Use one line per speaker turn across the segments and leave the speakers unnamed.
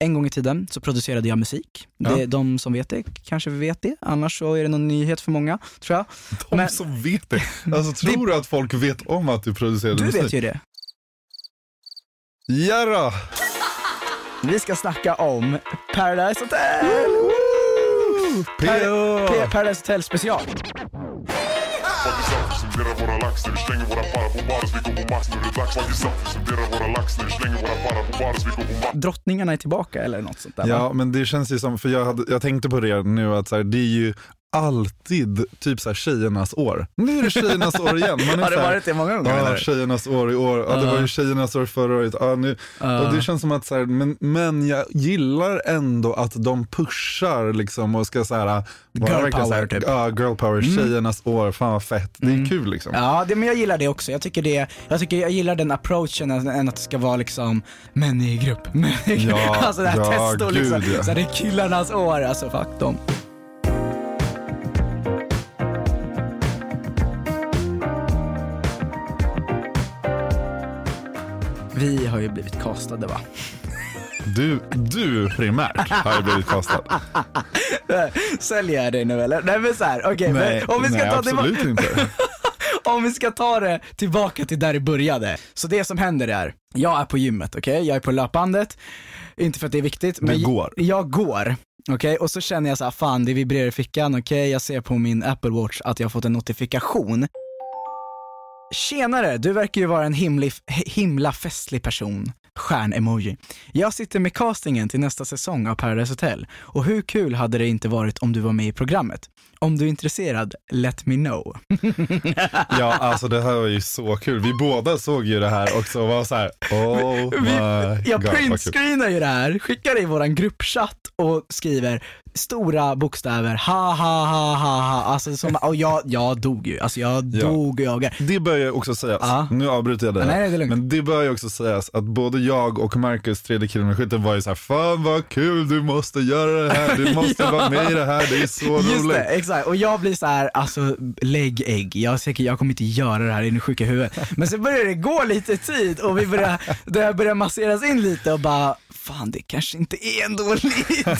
En gång i tiden så producerade jag musik. Det, de som vet det kanske vet det, annars så är det någon nyhet för många, tror jag.
De
Men-
som vet det. Alltså tror du att folk vet om att du producerade
Du
musik?
vet ju det.
Jadå.
Vi ska snacka om Paradise Hotel!
P.O.
P- Paradise Hotel special.
Fuck yourself, studera våra lax när vi slänger våra para på bars. Vi går på max nu, det är dags. Fuck yourself, studera våra lax när vi slänger våra para på bars. Vi går på max.
Drottningarna är tillbaka eller något sånt där va?
Ja, men det känns ju som, för jag, hade, jag tänkte på det nu, att så här, det är ju alltid typ så här, tjejernas år. Nu är det tjejernas år igen. Man är
Har det
så här,
varit det många gånger, menar
Ja,
du?
tjejernas år i år. Ja, det var ju tjejernas år förra året. Ja, nu. Och det känns som att, så här, men, men jag gillar ändå att de pushar liksom och ska så här, vara
Girl
verkligen så här,
power, typ. Mm.
Ja, girl power, tjejernas år, fan vad fett. Det är kul liksom.
Ja, det, men jag gillar det också. Jag tycker, det, jag tycker jag gillar den approachen än än att det ska vara liksom män i grupp, män i grupp.
Ja,
alltså det här
ja,
testo
gud,
liksom.
ja.
Så här, det är killarnas år, alltså fuck dem. Vi har ju blivit castade va?
Du, du primärt har ju blivit kastad.
Säljer jag dig nu eller? Nej men såhär, okej
nej,
men om vi ska
nej
ta tillbaka-
absolut inte.
Om vi ska ta det tillbaka till där det började. Så det som händer är, jag är på gymmet, okej? Jag är på löpbandet. Inte för att det är viktigt, men j-
går.
jag går. Okej, och så känner jag så här, fan det vibrerar i fickan, okej? Jag ser på min Apple Watch att jag har fått en notifikation. Tjenare, du verkar ju vara en himlig, himla festlig person. Stjärn-emoji. Jag sitter med castingen till nästa säsong av Paradise Hotel och hur kul hade det inte varit om du var med i programmet? Om du är intresserad, let me know.
Ja, alltså det här var ju så kul. Vi båda såg ju det här också och var så här, oh my
Vi, jag
god. vad kul.
printscreenar ju det här, skickar det i våran gruppchatt och skriver stora bokstäver, ha ha ha ha ha, alltså som, och jag, jag dog ju, alltså jag
Ja.
dog och jag
Det bör ju också sägas,
Ja.
nu avbryter jag dig,
Nej, nej, det är lugnt.
men det bör ju också sägas att både jag och Marcus, tredje killen med skytten, var ju så här, fan vad kul, du måste göra det här, du måste vara med i det här, det är så
Just det,
roligt.
exakt. Och jag blir så här, alltså lägg ägg. Jag är säker, jag kommer inte göra det här, i det sjuka i huvudet. Men sen börjar det gå lite tid och vi börjar, det här börjar masseras in lite och bara, fan det kanske inte är en dålig idé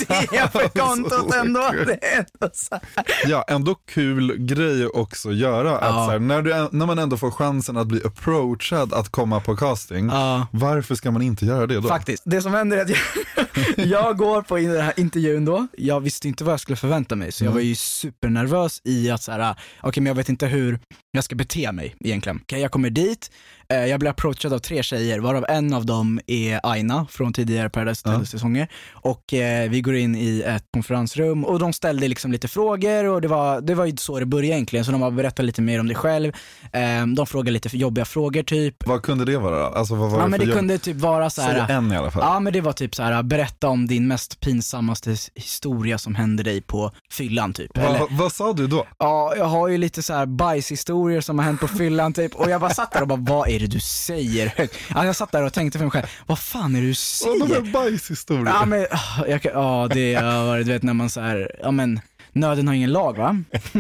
för kontot
Så
ändå.
kul.
Det är ändå så här.
Ja, ändå kul grej också att göra. Att så här, när, du, när man ändå får chansen att bli approachad att komma på casting,
Ja.
varför ska man inte göra det då?
Faktiskt. Det som händer är att jag, jag går på in- den här intervjun då, jag visste inte vad jag skulle förvänta mig så jag var ju supernervös i att så här, ah, okej men jag vet inte hur jag ska bete mig egentligen. Okej, jag kommer dit, eh, jag blir approachad av tre tjejer varav en av dem är Aina från tidigare Paradise Hotel-säsonger och eh, vi går in i ett konferensrum och de ställde liksom lite frågor och det var, det var ju så det började egentligen så de har berättat lite mer om det själv, eh, de frågar lite jobbiga frågor typ.
Vad kunde det vara? då? Alltså vad var
Ja
det
men
för
det
jobb?
kunde typ vara så här.
Säg en i alla fall.
Ja men det var typ så här: berätta om din mest pinsammaste his- historia som hände dig på fyllan typ.
Va-
Eller,
va- vad sa du då?
ja, jag har ju lite så här bajshistorier som har hänt på fyllan typ och jag bara satt där och bara, vad är det du säger högt? Ja, jag satt där och tänkte för mig själv, vad fan är det du
Oh, de
säger?
är bajshistorier.
Ja men, ah, jag, kan- ja det har varit, du vet när man så här, ja men Nöden har ingen lag va?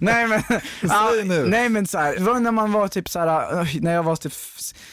nej men, ja,
Säg nu.
nej men så här, det var när man var typ så här, oj, när jag var typ,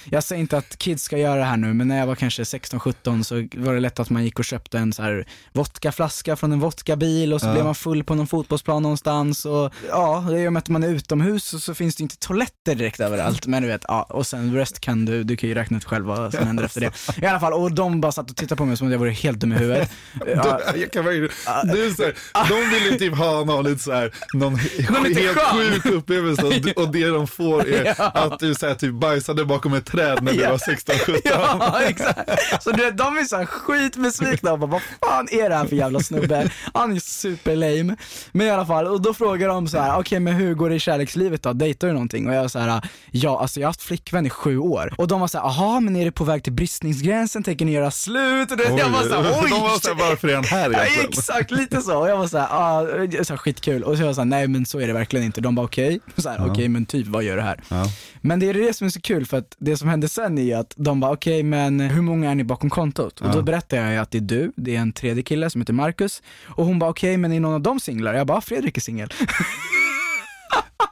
jag säger inte att kids ska göra det här nu, men när jag var kanske 16-17 så var det lätt att man gick och köpte en så här vodkaflaska från en vodkabil och så blev man full på någon fotbollsplan någonstans och ja, i och med att man är utomhus så, så finns det inte toaletter direkt överallt, men du vet, ja, och sen rest kan du, du kan ju räkna ut själv vad som händer efter det. I alla fall, och de bara satt och tittade på mig som att jag vore helt dum i huvudet. Ja,
De, jag kan verkligen, du är så här, de vill ju typ ha någon, lite så här, någon
är lite
helt
skön.
sjuk upplevelse och, d- och det de får är att du så här, typ bajsade bakom ett träd när du
Ja.
var 16-17.
Ja, exakt. Så du vet, de är så här skitbesvikna och bara, vad fan är det här för jävla snubbe? Han är super lame. Men i alla fall, och då frågar de så här, okej men hur går det i kärlekslivet då? Dejtar du någonting? Och jag så här, ja alltså jag har haft flickvän i sju år. Och de var så här, aha men är det på väg till bristningsgränsen? Tänker ni göra slut? Och du vet, jag var så här, oj!
de var så här, varför är han här
Ja,
egentligen?
exakt, lite så. Och jag var såhär, ah, eh, så här, skitkul. Och så var jag såhär, nej men så är det verkligen inte. De bara okej, så här, okej men typ vad gör du här?
Ja.
Men det är det som är så kul för att det som hände sen är ju att de bara okej men hur många är ni bakom kontot? Och då berättar jag ju att det är du, det är en tredje kille som heter Marcus och hon bara okej men är någon av dem singlar? Jag bara "Ah, Fredrik är singel.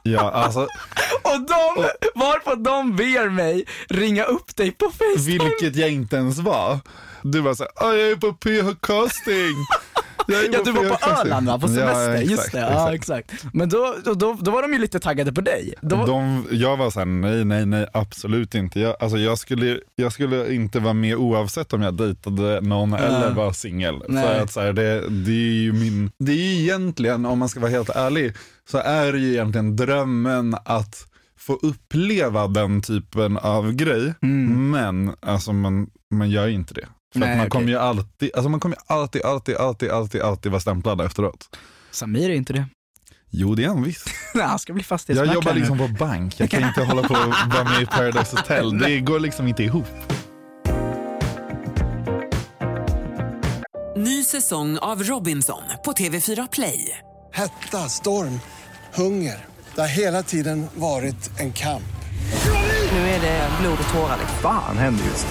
Ja, alltså,
Och de, varpå de ber mig ringa upp dig på Facebook.
vilket jag inte ens var. Du var så här, "Ah, jag är på PH-casting. Jag är
Ja, du var på
PH-casting."
Öland va? På semester?
Ja, exakt,
Just det,
exakt.
ja exakt. Men då, då, då, då var de ju lite taggade på dig. Då, var-
De, jag var såhär, nej, nej, nej, absolut inte. Jag, alltså, jag, skulle, jag skulle inte vara med oavsett om jag dejtade någon eller var singel.
Nej.
För att så här, det, det är ju min, det är ju egentligen, om man ska vara helt ärlig, så är det ju egentligen drömmen att få uppleva den typen av grej. Men alltså, man, man gör ju inte det. För
Nej,
att man
okej.
kommer ju alltid, alltså man kommer ju alltid, alltid, alltid, alltid, alltid vara stämplad efteråt.
Samir är inte det.
Jo, det är han visst.
Nej, han ska bli
Jag
fastighetsmäklare
jobbar
nu.
liksom på bank. Jag kan inte hålla på och vara med i Paradise Hotel. Det går liksom inte ihop.
Ny säsong av Robinson på TV4 Play.
Hetta, storm, hunger. Det har hela tiden varit en kamp.
Nu är det blod och tårar. liksom.
Fan händer just det.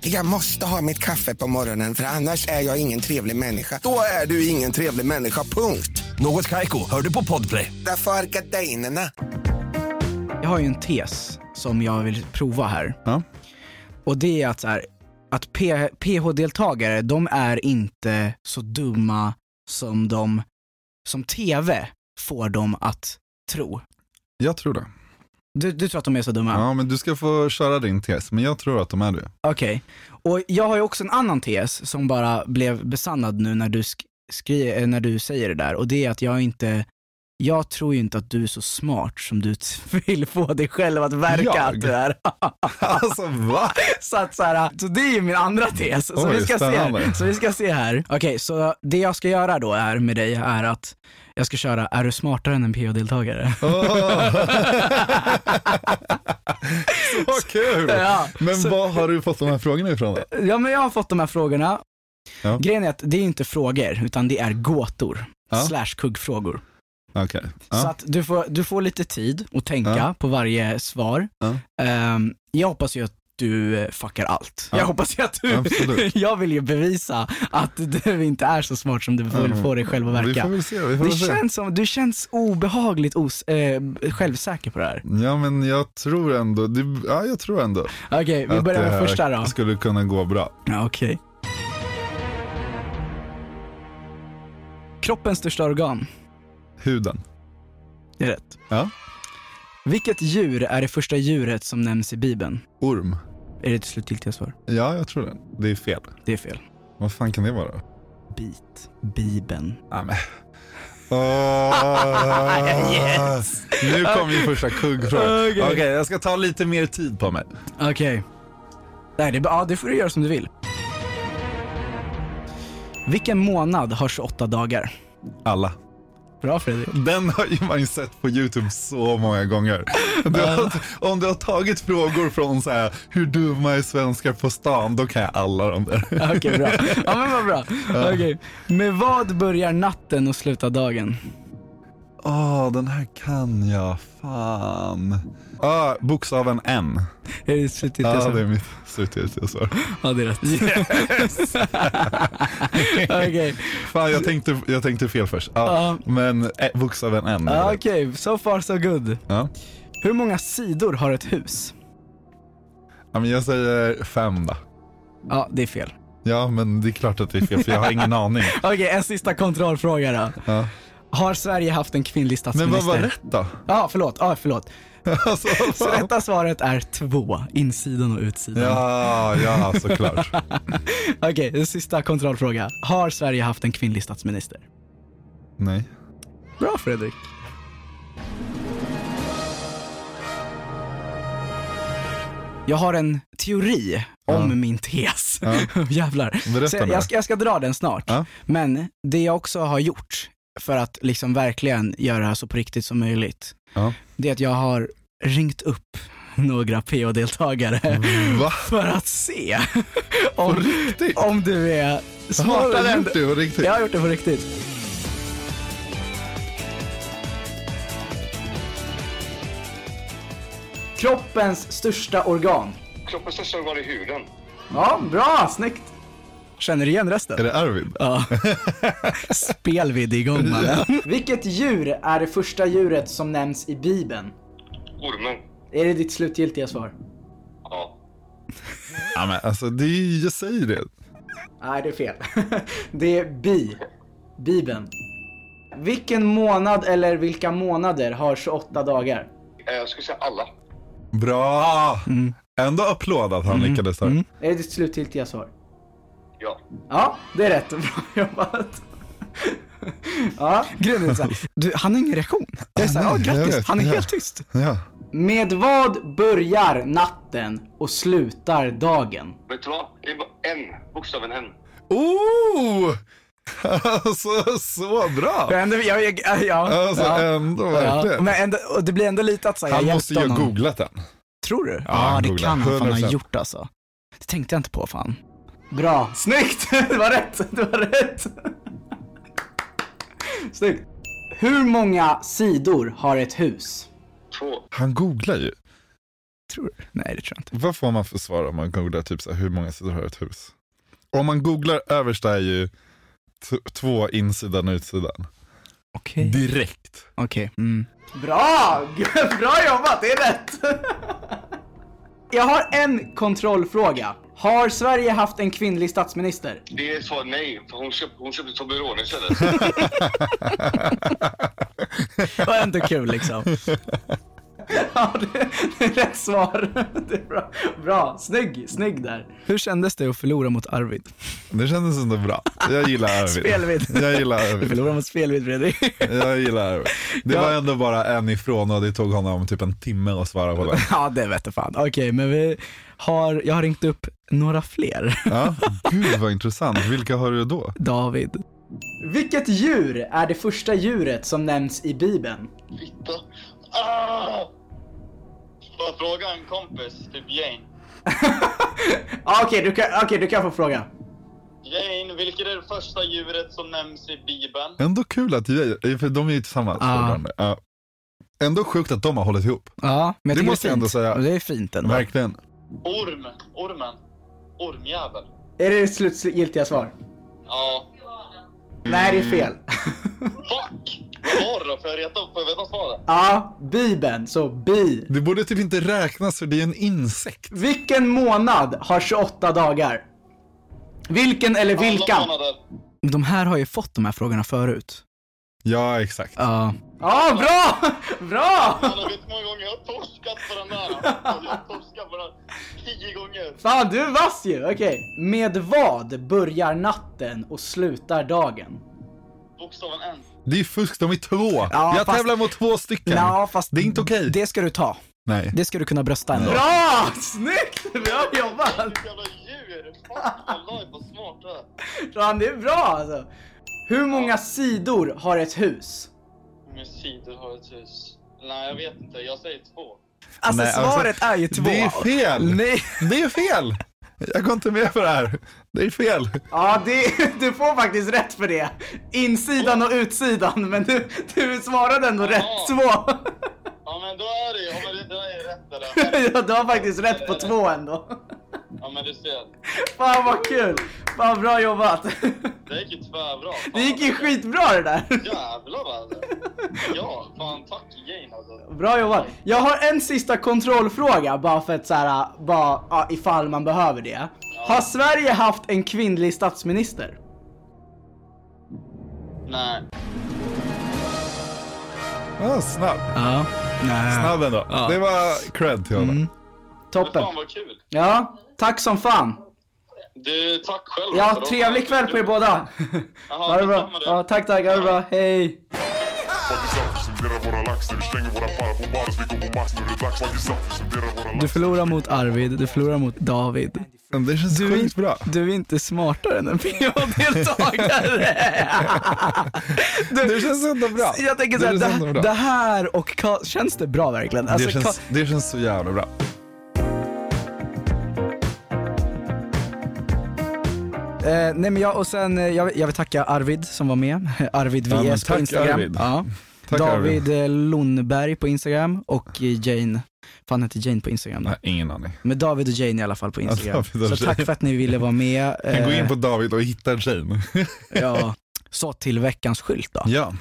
Jag måste ha mitt kaffe på morgonen för annars är jag ingen trevlig människa. Då är du ingen trevlig människa, punkt.
Något Kaiko, hör du på Podplay.
Därför är gardinerna.
Jag har ju en tes som jag vill prova här.
Ja.
Och det är att, så här, att P- PH-deltagare, de är inte så dumma som de, som TV får dem att tro.
Jag tror det.
Du, du tror att de är så dumma?
Ja, men du ska få köra din tes. Men jag tror att de är det.
Okej. Och jag har ju också en annan tes som bara blev besannad nu när du, sk- skri- eh, när du säger det där och det är att jag inte jag tror ju inte att du är så smart som du t- vill få dig själv att verka
Jag?
att du är.
Alltså va?
Så, att, så, här, så det är ju min andra tes. Så,
Oj,
vi, ska se här.
spännande.
så vi ska se här. Okej, så det jag ska göra då är med dig är att jag ska köra, är du smartare än en PO-deltagare?
Åh. Vad kul!
Ja,
Men
så-
var har du fått de här frågorna ifrån då?
Ja men jag har fått de här frågorna.
Ja.
Grejen är att det är inte frågor, utan det är gåtor.
Ja.
Slash kuggfrågor.
Okej. Ja.
Så att du får, du får lite tid att tänka
Ja.
på varje svar.
Ja.
Ehm, jag hoppas ju att du eh, fuckar allt.
Ja.
Jag hoppas ju att du,
Absolut.
jag vill ju bevisa att du inte är så smart som du vill få dig själv att
Vi får
verka.
väl se. Vi får
Det
väl se.
känns som, du känns obehagligt os, eh, självsäker på det här.
Ja, men jag tror ändå. Det, ja, jag tror ändå.
Okej, vi
att eh,
börjar
det
med
här
första då.
skulle kunna gå bra.
Ja, Okej. Kroppens största organ.
Huden.
Det är rätt.
Ja.
Vilket djur är det första djuret som nämns i Bibeln?
Orm.
Är det ditt slutgiltiga svar?
Ja, jag tror det. Det är fel.
Det är fel.
Vad fan kan det vara?
Bit. Bibeln.
Ja, men. Åh. Ah. Nu kom ju första kuggfrågan.
Okej.
Okej, jag ska ta lite mer tid på mig.
Okej. Nej, det, ja, det får du göra som du vill. Vilken månad har 28 dagar?
Alla.
Bra Fredrik.
Den har ju man ju sett på YouTube så många gånger. Du har, om du har tagit frågor från så här, hur dumma är svenskar på stan, då kan jag alla de där.
Okej, bra. Ja, men vad bra. Okej. Med vad börjar natten och slutar dagen?
Åh, Ah, den här kan jag. Fan. Ah, bokstaven N.
Är det ditt slutgiltiga
Ja,
svar?
det är mitt slutgiltiga svar.
Ja, det är rätt. Okej,
Fan, jag tänkte, jag tänkte fel först. Ah,
Ja.
Men eh, bokstaven N. är
Ja,
det.
okej. so far so good.
Ja.
Hur många sidor har ett hus?
Ja, men jag säger fem då.
Ja, det är fel.
Ja, men det är klart att det är fel för jag har ingen aning.
Okej, en sista kontrollfråga då.
Ja.
Har Sverige haft en kvinnlig
Men
statsminister?
vad var rätt då?
Ja, förlåt. Ja, förlåt.
Alltså, vad
Så
fan?
rätta svaret är två, insidan och utsidan.
ja, ja, såklart.
Okej, en sista kontrollfråga. Har Sverige haft en kvinnlig statsminister?
Nej.
Bra Fredrik. Jag har en teori om min tes. Jävlar.
Berätta
Så
nu.
jag, ska, jag ska dra den snart.
Ja.
Men det jag också har gjort för att liksom verkligen göra det här så på riktigt som möjligt,
Ja.
det är att jag har ringt upp några PO-deltagare
Va?
för att se om,
riktigt?
om du är smartare
Smartare
än
än du på riktigt.
Jag har gjort det på riktigt. Kroppens största organ.
Kroppens största organ är huden.
Ja, bra, snyggt. Känner du igen resten?
Är det Arvid?
Ja. Spelvidd igång mannen. Vilket djur är det första djuret som nämns i Bibeln?
Ormen.
Är det ditt slutgiltiga svar?
Ja.
Ja, men alltså, det är, ju- jag säger det.
Nej, det är fel. Det är bi. Bibeln. Vilken månad eller vilka månader har 28 dagar?
Eh, Jag skulle säga alla.
Bra!
Mm.
Ändå applåd att han lyckades där.
Är det ditt slutgiltiga svar?
Ja.
Ja, det är rätt. Bra jobbat. Ja. Grejen är så här, du, han har ingen reaktion. Det är så här, ja,
Ah, nej, jag
grattis,
vet,
han är
ja.
helt tyst.
Ja.
Med vad börjar natten och slutar dagen?
Vet du vad? Det är bara en. Bokstaven en.
Oh! Alltså, så bra!
Ändå, jag, jag, ja,
Alltså,
ja.
ändå
Ja,
verkligen.
men ändå, och det blir ändå lite att säga
Han måste ju ha googlat den.
Tror du? Ja,
han
det
googlar.
kan han fan ha
100%.
gjort alltså. Det tänkte jag inte på fan. Bra. Snyggt! Det var rätt, det var rätt. Snyggt. Hur många sidor har ett hus?
Två.
Han googlar ju.
Tror du? Nej, det tror jag inte.
Vad får man för svar om man googlar typ så här, hur många sidor har ett hus? Om man googlar översta är ju t- två insidan och utsidan.
Okej.
Direkt.
Okej. mm. Bra! Bra jobbat, det är rätt! jag har en kontrollfråga. Har Sverige haft en kvinnlig statsminister?
Det är svar nej. För hon köpte, hon köpte Toblerone istället.
Det var ändå kul liksom. ja, det, det är rätt svar. Det är bra. bra, snygg, snygg där. Hur kändes det att förlora mot Arvid?
Det kändes ändå bra. Jag gillar Arvid.
Spelvidd.
Jag gillar Arvid.
Förlora mot Spelvidd Fredrik.
Jag gillar Arvid. Det
Ja.
var ändå bara en ifrån och det tog honom typ en timme att svara på det.
ja, det vete fan. Okej, men vi har, jag har ringt upp några fler.
Ja. Gud vad intressant. Vilka har du då?
David. Vilket djur är det första djuret som nämns i Bibeln?
Fitta. Ah! Bara Fråga en kompis, typ Jane.
Ah, Okej, du, kan- okej, du kan få fråga.
Jane, vilket är det första djuret som nämns i Bibeln?
Ändå kul att jag, för de är ju tillsammans
Ja.
fortfarande. Ja. Ändå sjukt att de har hållit ihop.
Ja, men
Det tycker det är måste jag ändå fint. säga. Och
Det är fint ändå.
Verkligen.
Orm. Ormen. Ormjävel.
Är det ditt slutgiltiga svar?
Ja.
Nej, det är fel.
Fuck! Vad var det då? Får jag reta upp? Får jag veta svaret?
Ja, Bibeln, så bi.
Det borde typ inte räknas för det är en insekt.
Vilken månad har 28 dagar? Vilken eller vilka?
Alla månader.
De här har ju fått de här frågorna förut.
Ja, exakt.
Ja. Ja, bra! Bra!
Jag vet hur många gånger jag har torskat på den där. Jag har torskat på den tio gånger.
Fan, du är vass ju! Okej. Med vad börjar natten och slutar dagen?
Bokstaven N.
Det är fusk, de är två.
Ja,
jag
fast-
tävlar mot två stycken.
fast
Det är inte okej.
Det ska du ta.
Nej.
Det ska du kunna brösta ändå. Bra! Snyggt! Bra jobbat!
Vilket jävla djur! Fuck wallahi vad smart du är.
Fan, det är bra alltså. Hur många sidor har ett hus?
Hur många sidor har ett hus? Nej jag vet inte, jag säger två.
Alltså
Nej, alltså,
svaret är ju två.
Det är fel.
Nej.
Det är fel. Jag går inte med på det här. Det är fel.
Ja, det, du får faktiskt rätt för det. Insidan och utsidan, men du, du svarade ändå rätt två.
Ja men då är det ju, ja men det där är rätt det där.
Ja, du har faktiskt rätt på två ändå.
Ja men du ser.
Fan vad kul! Fan bra jobbat!
Det gick ju tvärbra. Fan.
Det gick ju skitbra det där!
Jävlar alltså. Ja, fan tack Jane alltså.
Bra jobbat! Jag har en sista kontrollfråga bara för att såhär, bara ja, ifall man behöver det. Har Sverige haft en kvinnlig statsminister?
Nej.
Ah, snabb.
Ja. Nej. Mm.
Snabb ändå. Det var cred till honom.
Men
Toppen.
fan vad kul.
Ja, tack som fan.
Du, tack själv.
Ja,
alltså.
trevlig kväll på er båda.
Jaha,
Ha det bra.
detsamma, du.
Ja, tack, tack. Ha det bra. Hej.
faktiskt upp, vi spenderar våra lax när vi slänger våra para på bars. Vi går på max nu, det är dags faktiskt upp, vi spenderar våra lax.
Du förlorar mot Arvid, du förlorar mot David.
Men Det känns
Du är,
sjukt
inte,
bra.
du är inte smartare än en PH-deltagare.
Det känns ändå bra.
Jag tänker
Det
såhär,
känns
det,
ändå bra.
det här och Ka- känns det bra verkligen? Alltså,
Det känns,
Ka-
det känns så jävla bra.
eh, nej men jag, och sen, eh, jag, vill- jag vill tacka Arvid som var med. Arvid
Ja, men
VS på
tack,
Instagram.
Arvid.
Ja.
Tack Arvid.
David eh, Lundberg på Instagram och eh, Jane, fan heter Jane på Instagram då?
Nej, ingen aning.
Men David och Jane i alla fall på Instagram.
David och
så
Jane.
tack för att ni ville vara med.
Kan gå
Eh,
in på David och hitta en tjej.
ja, så till veckans skylt då.
Ja,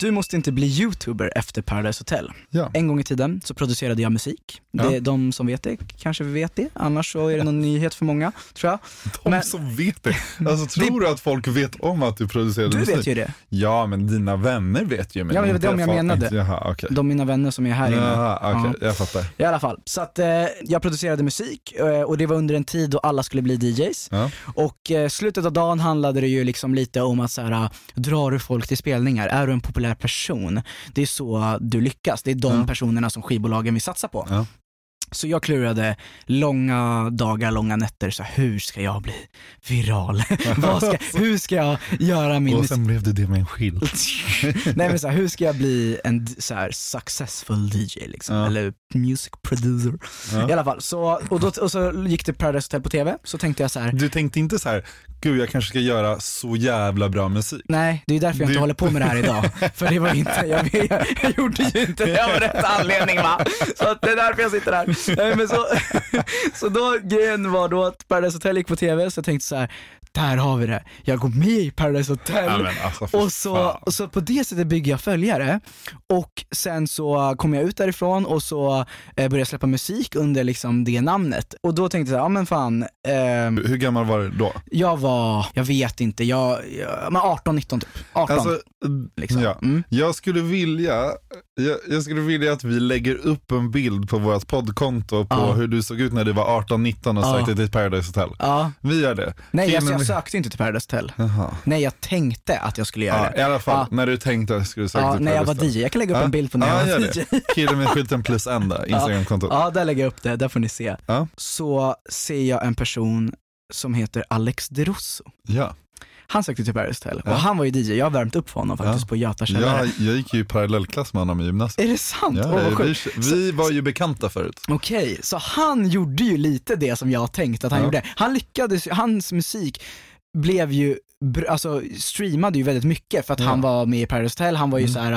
Du måste inte bli youtuber efter Paradise Hotel.
ja.
En gång i tiden så producerade jag musik. Det,
Ja.
de som vet det kanske vet det, annars så är det någon nyhet för många tror jag.
De
Men-
som vet det. Alltså tror du att folk vet om att du producerade
Du
musik?
vet ju det.
Ja, men dina vänner vet ju. Men
Ja, men det var
inte
dem jag
folk.
menade.
Jaha, okej.
De mina vänner som är här inne.
Jaha, okej. Jag fattar.
I alla fall, så att eh, jag producerade musik eh, och det var under en tid då alla skulle bli DJs.
Ja.
Och eh, slutet av dagen handlade det ju liksom lite om att så här, drar du folk till spelningar? Är du en populär person? Det är så du lyckas. Det är de
Ja.
personerna som skivbolagen vill satsa på.
Ja.
Så jag klurade långa dagar, långa nätter, så här, hur ska jag bli viral? Vad ska, hur ska jag göra min
Och
musik?
sen blev det det med en skylt.
Nej men så här, hur ska jag bli en d- så här, successful DJ liksom,
Ja.
eller music producer.
Ja.
I alla fall, så, och, då, och så gick det Paradise Hotel på TV, så tänkte jag så här.
Du tänkte inte så här, gud jag kanske ska göra så jävla bra musik.
Nej, det är därför jag inte
Du-
håller på med det här idag. För det var inte, jag, jag, jag gjorde ju inte det av rätt anledning va. Så att det är därför jag sitter här. Nej, men så, så då, grejen var då att Paradise Hotel gick på TV, så jag tänkte så här. där har vi det. Jag går med i Paradise Hotel.
Ja, men alltså, för
Och så,
fan.
och så på det sättet bygger jag följare och sen så kom jag ut därifrån och så eh, började jag släppa musik under liksom det namnet. Och då tänkte jag så här, ja men fan, ehm,
Hur gammal var du då?
jag var, jag vet inte, jag, jag men 18-19 typ. 18.
Alltså,
liksom.
ja.
Mm.
jag, skulle vilja, jag, jag skulle vilja att vi lägger upp en bild på vårt poddkonto på
Ja.
hur du såg ut när du var 18-19 och
Ja.
sökte till Paradise Hotel.
ja.
Vi gör det.
Nej alltså,
Killen-
jag sökte inte till Paradise Hotel.
Jaha.
Nej jag tänkte att jag skulle göra
Ja, I alla fall,
Ja.
när du tänkte att du skulle
det.
söka
Ja,
till
när jag
Paradise
var
Hotel.
DJ, jag kan lägga upp en bild på när
ja,
jag
gör
var DJ.
det. Killen med skylten plus en där, Instagramkontot.
Ja, där lägger jag upp det, där får ni se.
Ja.
Så ser jag en person som heter Alex DeRosso.
Ja.
Han sökte till Paradise Hotel
Ja.
och han var ju DJ, jag har värmt upp för honom faktisist
Ja.
på Göta källare.
Jag, jag gick ju i parallellklass med honom i gymnasiet.
Är det sant? Åh
Ja,
vad
vi,
sjukt.
vi var ju bekanta förut.
Okej, så han gjorde ju lite det som jag tänkte att han
Ja.
gjorde. Han lyckades ju- hans musik blev ju, br- alltså streamade ju väldigt mycket för att
Ja. Mm.
han var med i Paradise Hotel, han var ju såhär,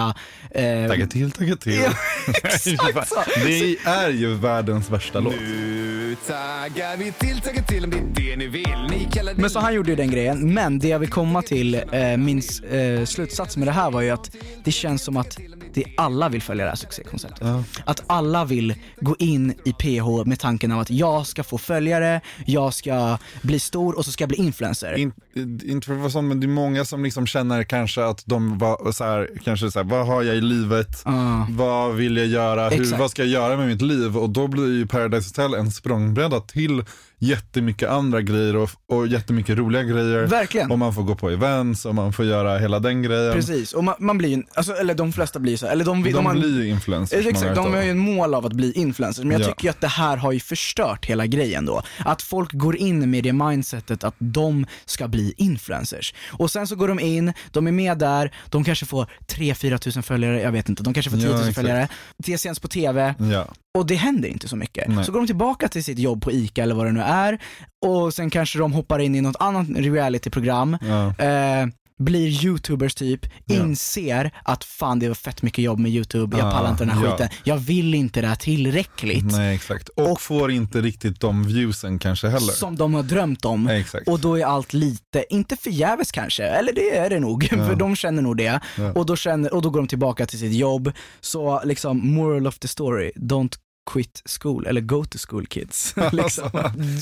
eh,
Tagga till, tagga till.
Ja, exakt så.
Det är ju världens värsta låt.
Nu taggar vi till, taggar till om det är det ni vill. Ni kallar det
men så han gjorde ju den grejen, men det jag vill komma till, eh, min s- eh, slutsats med det här var ju att det känns som att det alla vill följa det här succékonceptet. Att alla vill gå in i PH med tanken av att jag ska få följare, jag ska bli stor och så ska jag bli influencer.
In, inte för att vara sån, men det är många som liksom känner kanske att de var så här, kanske så här, vad har jag i livet?
Ah.
Vad vill jag göra? Hur,
Exakt.
vad ska jag göra med mitt liv? Och då blir ju Paradise Hotel en språngbräda till jättemycket andra grejer och, och jättemycket roliga grejer.
Verkligen.
Och man får gå på events och man får göra hela den grejen.
Precis, och man, man blir ju, alltså, eller de flesta blir ju så, här, eller de,
De,
de, man,
blir ju influencers. många
Exakt, de
utav
har ju
dem.
en mål av att bli influencers, men jag
Ja.
tycker ju att det här har ju förstört hela grejen då. Att folk går in med det mindsetet att de ska bli influencers. Och sen så går de in, de är med där, de kanske får 3-4 tusen följare, jag vet inte, de kanske får 10
Ja,
000
exakt.
följare. Det syns på TV,
Ja.
och det händer inte så mycket.
Nej.
Så går de tillbaka till sitt jobb på ICA eller vad det nu är och sen kanske de hoppar in i något annat realityprogram,
Ja.
eh, blir youtubers typ,
Ja.
inser att fan det var fett mycket jobb med youtube, jag
Ja,
pallar inte den här
ja.
skiten, jag vill inte det här tillräckligt.
Nej, exakt. Och,
Och-
får inte riktigt de viewsen kanske heller.
Som de har drömt om.
Exakt.
Och då är allt lite, inte förgäves kanske, eller det är det nog, för de känner nog det.
Ja.
Och, då känner, och då går de tillbaka till sitt jobb. Så liksom, moral of the story, don't quit school eller go to school kids. liksom.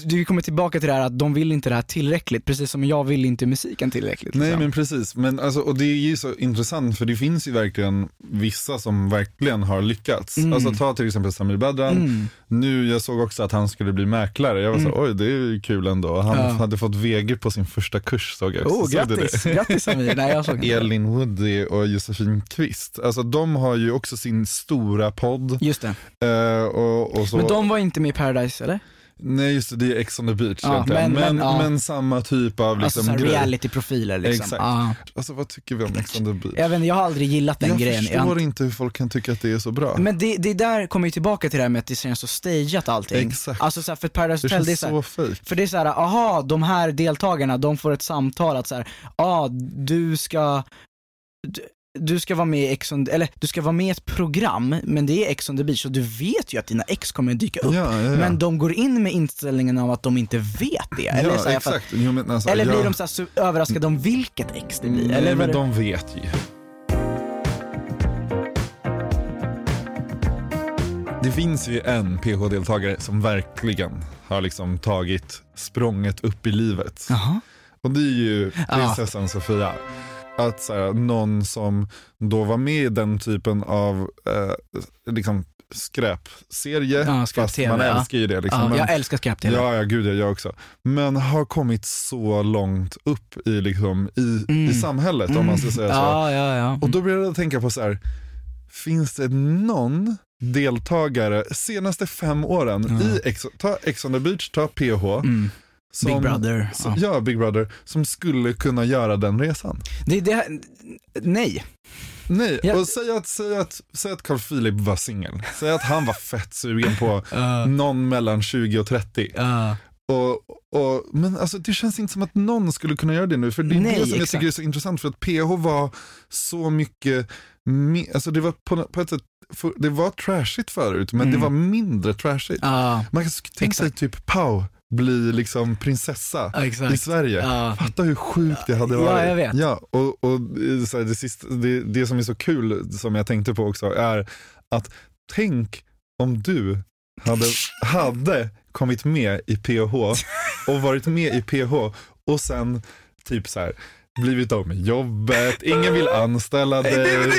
Du kommer tillbaka till det här att de vill inte det här tillräckligt, precis som jag vill inte musiken tillräckligt.
Nej
liksom.
men precis, men alltså, och det är ju så intressant för det finns ju verkligen vissa som verkligen har lyckats.
Mm.
Alltså ta till exempel Samir Badran, nu jag såg också att han skulle bli mäklare, jag var
Mm.
så oj det är ju kul ändå. Han hade fått VG på sin första kurs såg jag också.
Oh,
Såg du
grattis,
det?
grattis Samir. Nej, jag såg inte.
Elin Woody och Josefin Kvist, alltså de har ju också sin stora podd.
Just det.
eh, och, och så.
Men de var inte med i Paradise eller?
Nej just det, det är Ex on the beach
Ja,
egentligen.
men-
Men, men,
men, ja.
samma typ av
Alltså
liksom,
såhär
grej.
reality-profiler liksom.
Exakt.
Ja.
Alltså vad tycker vi om Ex on the beach?
Jag, vet, inte, jag har aldrig gillat den
jag
grejen.
förstår inte hur folk kan tycka att det är så bra.
Men det, det där kommer ju tillbaka till det här med att det känns så stageat allting.
Exakt.
Alltså såhär, för Paradise
det
Hotel,
känns
det är
så
såhär,
fejk.
för det är såhär, aha, de här deltagarna, de får ett samtal att såhär, ja, ah, du ska, du, du ska vara med i Ex on, eller du ska vara med i ett program, men det är Ex on the beach och du vet ju att dina ex kommer dyka upp.
Ja, ja, ja.
Men de går in med inställningen av att de inte vet det. eller,
ja,
såhär, för-
exakt. Jo, men alltså,
eller blir
ja.
de såhär, su- överraskade om vilket ex det blir?
Nej,
eller vad
men
det-
de vet ju. Det finns ju en PH-deltagare som verkligen har liksom tagit språnget upp i livet.
Jaha.
Och det är ju prinsessan Sofia. Att så här, någon som då var med i den typen av eh, liksom, skräpserie,
Ja,
fast
skräp-tv,
man
ja.
älskar ju det. Liksom.
Ja,
Men-
jag älskar skräp
Ja, ja, gud ja, jag också. Men har kommit så långt upp i, liksom, i, i samhället om man ska säga så.
Mm. Ja, ja, ja.
Och då började jag tänka på så här, finns det någon deltagare senaste fem åren i Ex, ta Ex on the beach, ta PH, som,
Mm. Big Brother,
Som, ja. Big Brother, som skulle kunna göra den resan.
Det, det, nej.
Nej,
Ja.
och säg att, säg att, säg att Carl Philip var singel. Säg att han var fett sugen på någon mellan 20 och 30. Och, och, men alltså, det känns inte som att någon skulle kunna göra det nu, för det är
Nej,
det som jag
exakt.
tycker är så intressant, för att PH var så mycket, me- alltså det var på, på ett sätt, för, det var trashigt förut, men det var mindre trashigt.
Mm. Ja.
Man kan sk- tänka sig typ Pau bli liksom prinsessa
Ja, exakt.
i Sverige.
Ja.
Fatta hur sjukt det hade
Ja,
varit.
jag vet.
Ja, och, och eh, så här, det, sista, det, det som är så kul, som jag tänkte på också, är att tänk om du hade, hade kommit med i PH och varit med i PH och sen typ så här blivit av med jobbet, ingen vill anställa dig.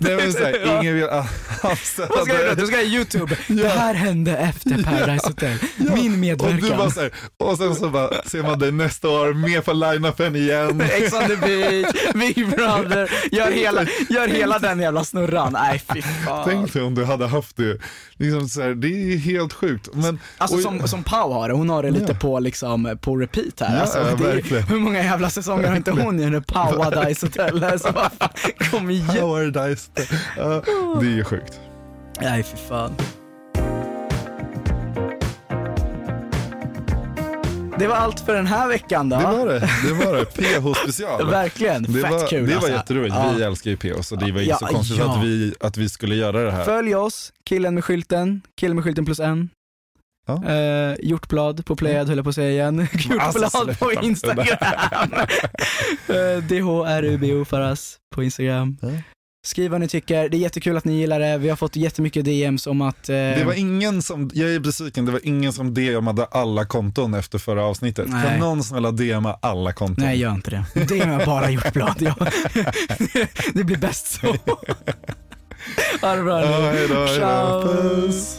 Nej, men så här, ingen vill an- anställa
liksom, Vad ska jag göra?
dig.
Du ska jag göra YouTube. Det här hände efter Paradise Hotel.
Ja,
Min
Och, du bara
medverkan.
så här, och sen så bara, ser man dig nästa år med på line-upen igen.
Ex on the beach, Big Brother, gör hela, gör hela den jävla snurran. Nej fy fan.
Tänk dig om du hade haft det. Liksom så här, det är helt sjukt. Men,
Alltså
och-
som, som Pau har det, hon har det lite på, liksom, på repeat här.
Ja,
alltså,
ja,
det är-
verkligen.
hur många jävla säsonger har inte hon i nu Paradise Hotel? Alltså, vad fan, kom igen.
Poweredized. Ja,
Oh.
det är ju sjukt.
Nej fy fan. Det var allt för den här veckan då.
Det var det. Det var det. PH-special.
Verkligen,
Det
fett
var,
kul
det
alltså.
var jätteroligt.
Ja.
Vi älskar ju PH så det var ju
Ja,
så konstigt
ja.
att, vi, att vi skulle göra det här.
Följ oss, killen med skylten, killen med skylten plus en.
Ja. Mm. Alltså,
Eh, hjortblad på Playad höll jag på att säga igen. Hjortblad på
sluta.
Instagram. eh, DHRUBO Faras på Instagram.
Ja.
Skriv vad ni tycker, det är jättekul att ni gillar det. Vi har fått jättemycket DMs om att... eh,
Det var ingen som, jag är besviken, det var ingen som DMade alla konton efter förra avsnittet.
Nej.
Kan någon snälla DMa alla konton?
Nej, gör inte det. Det har jag bara gjort blad. Jag... Det blir bäst så. Ha det bra
Ja,
nu.
hej då, hej då. Puss.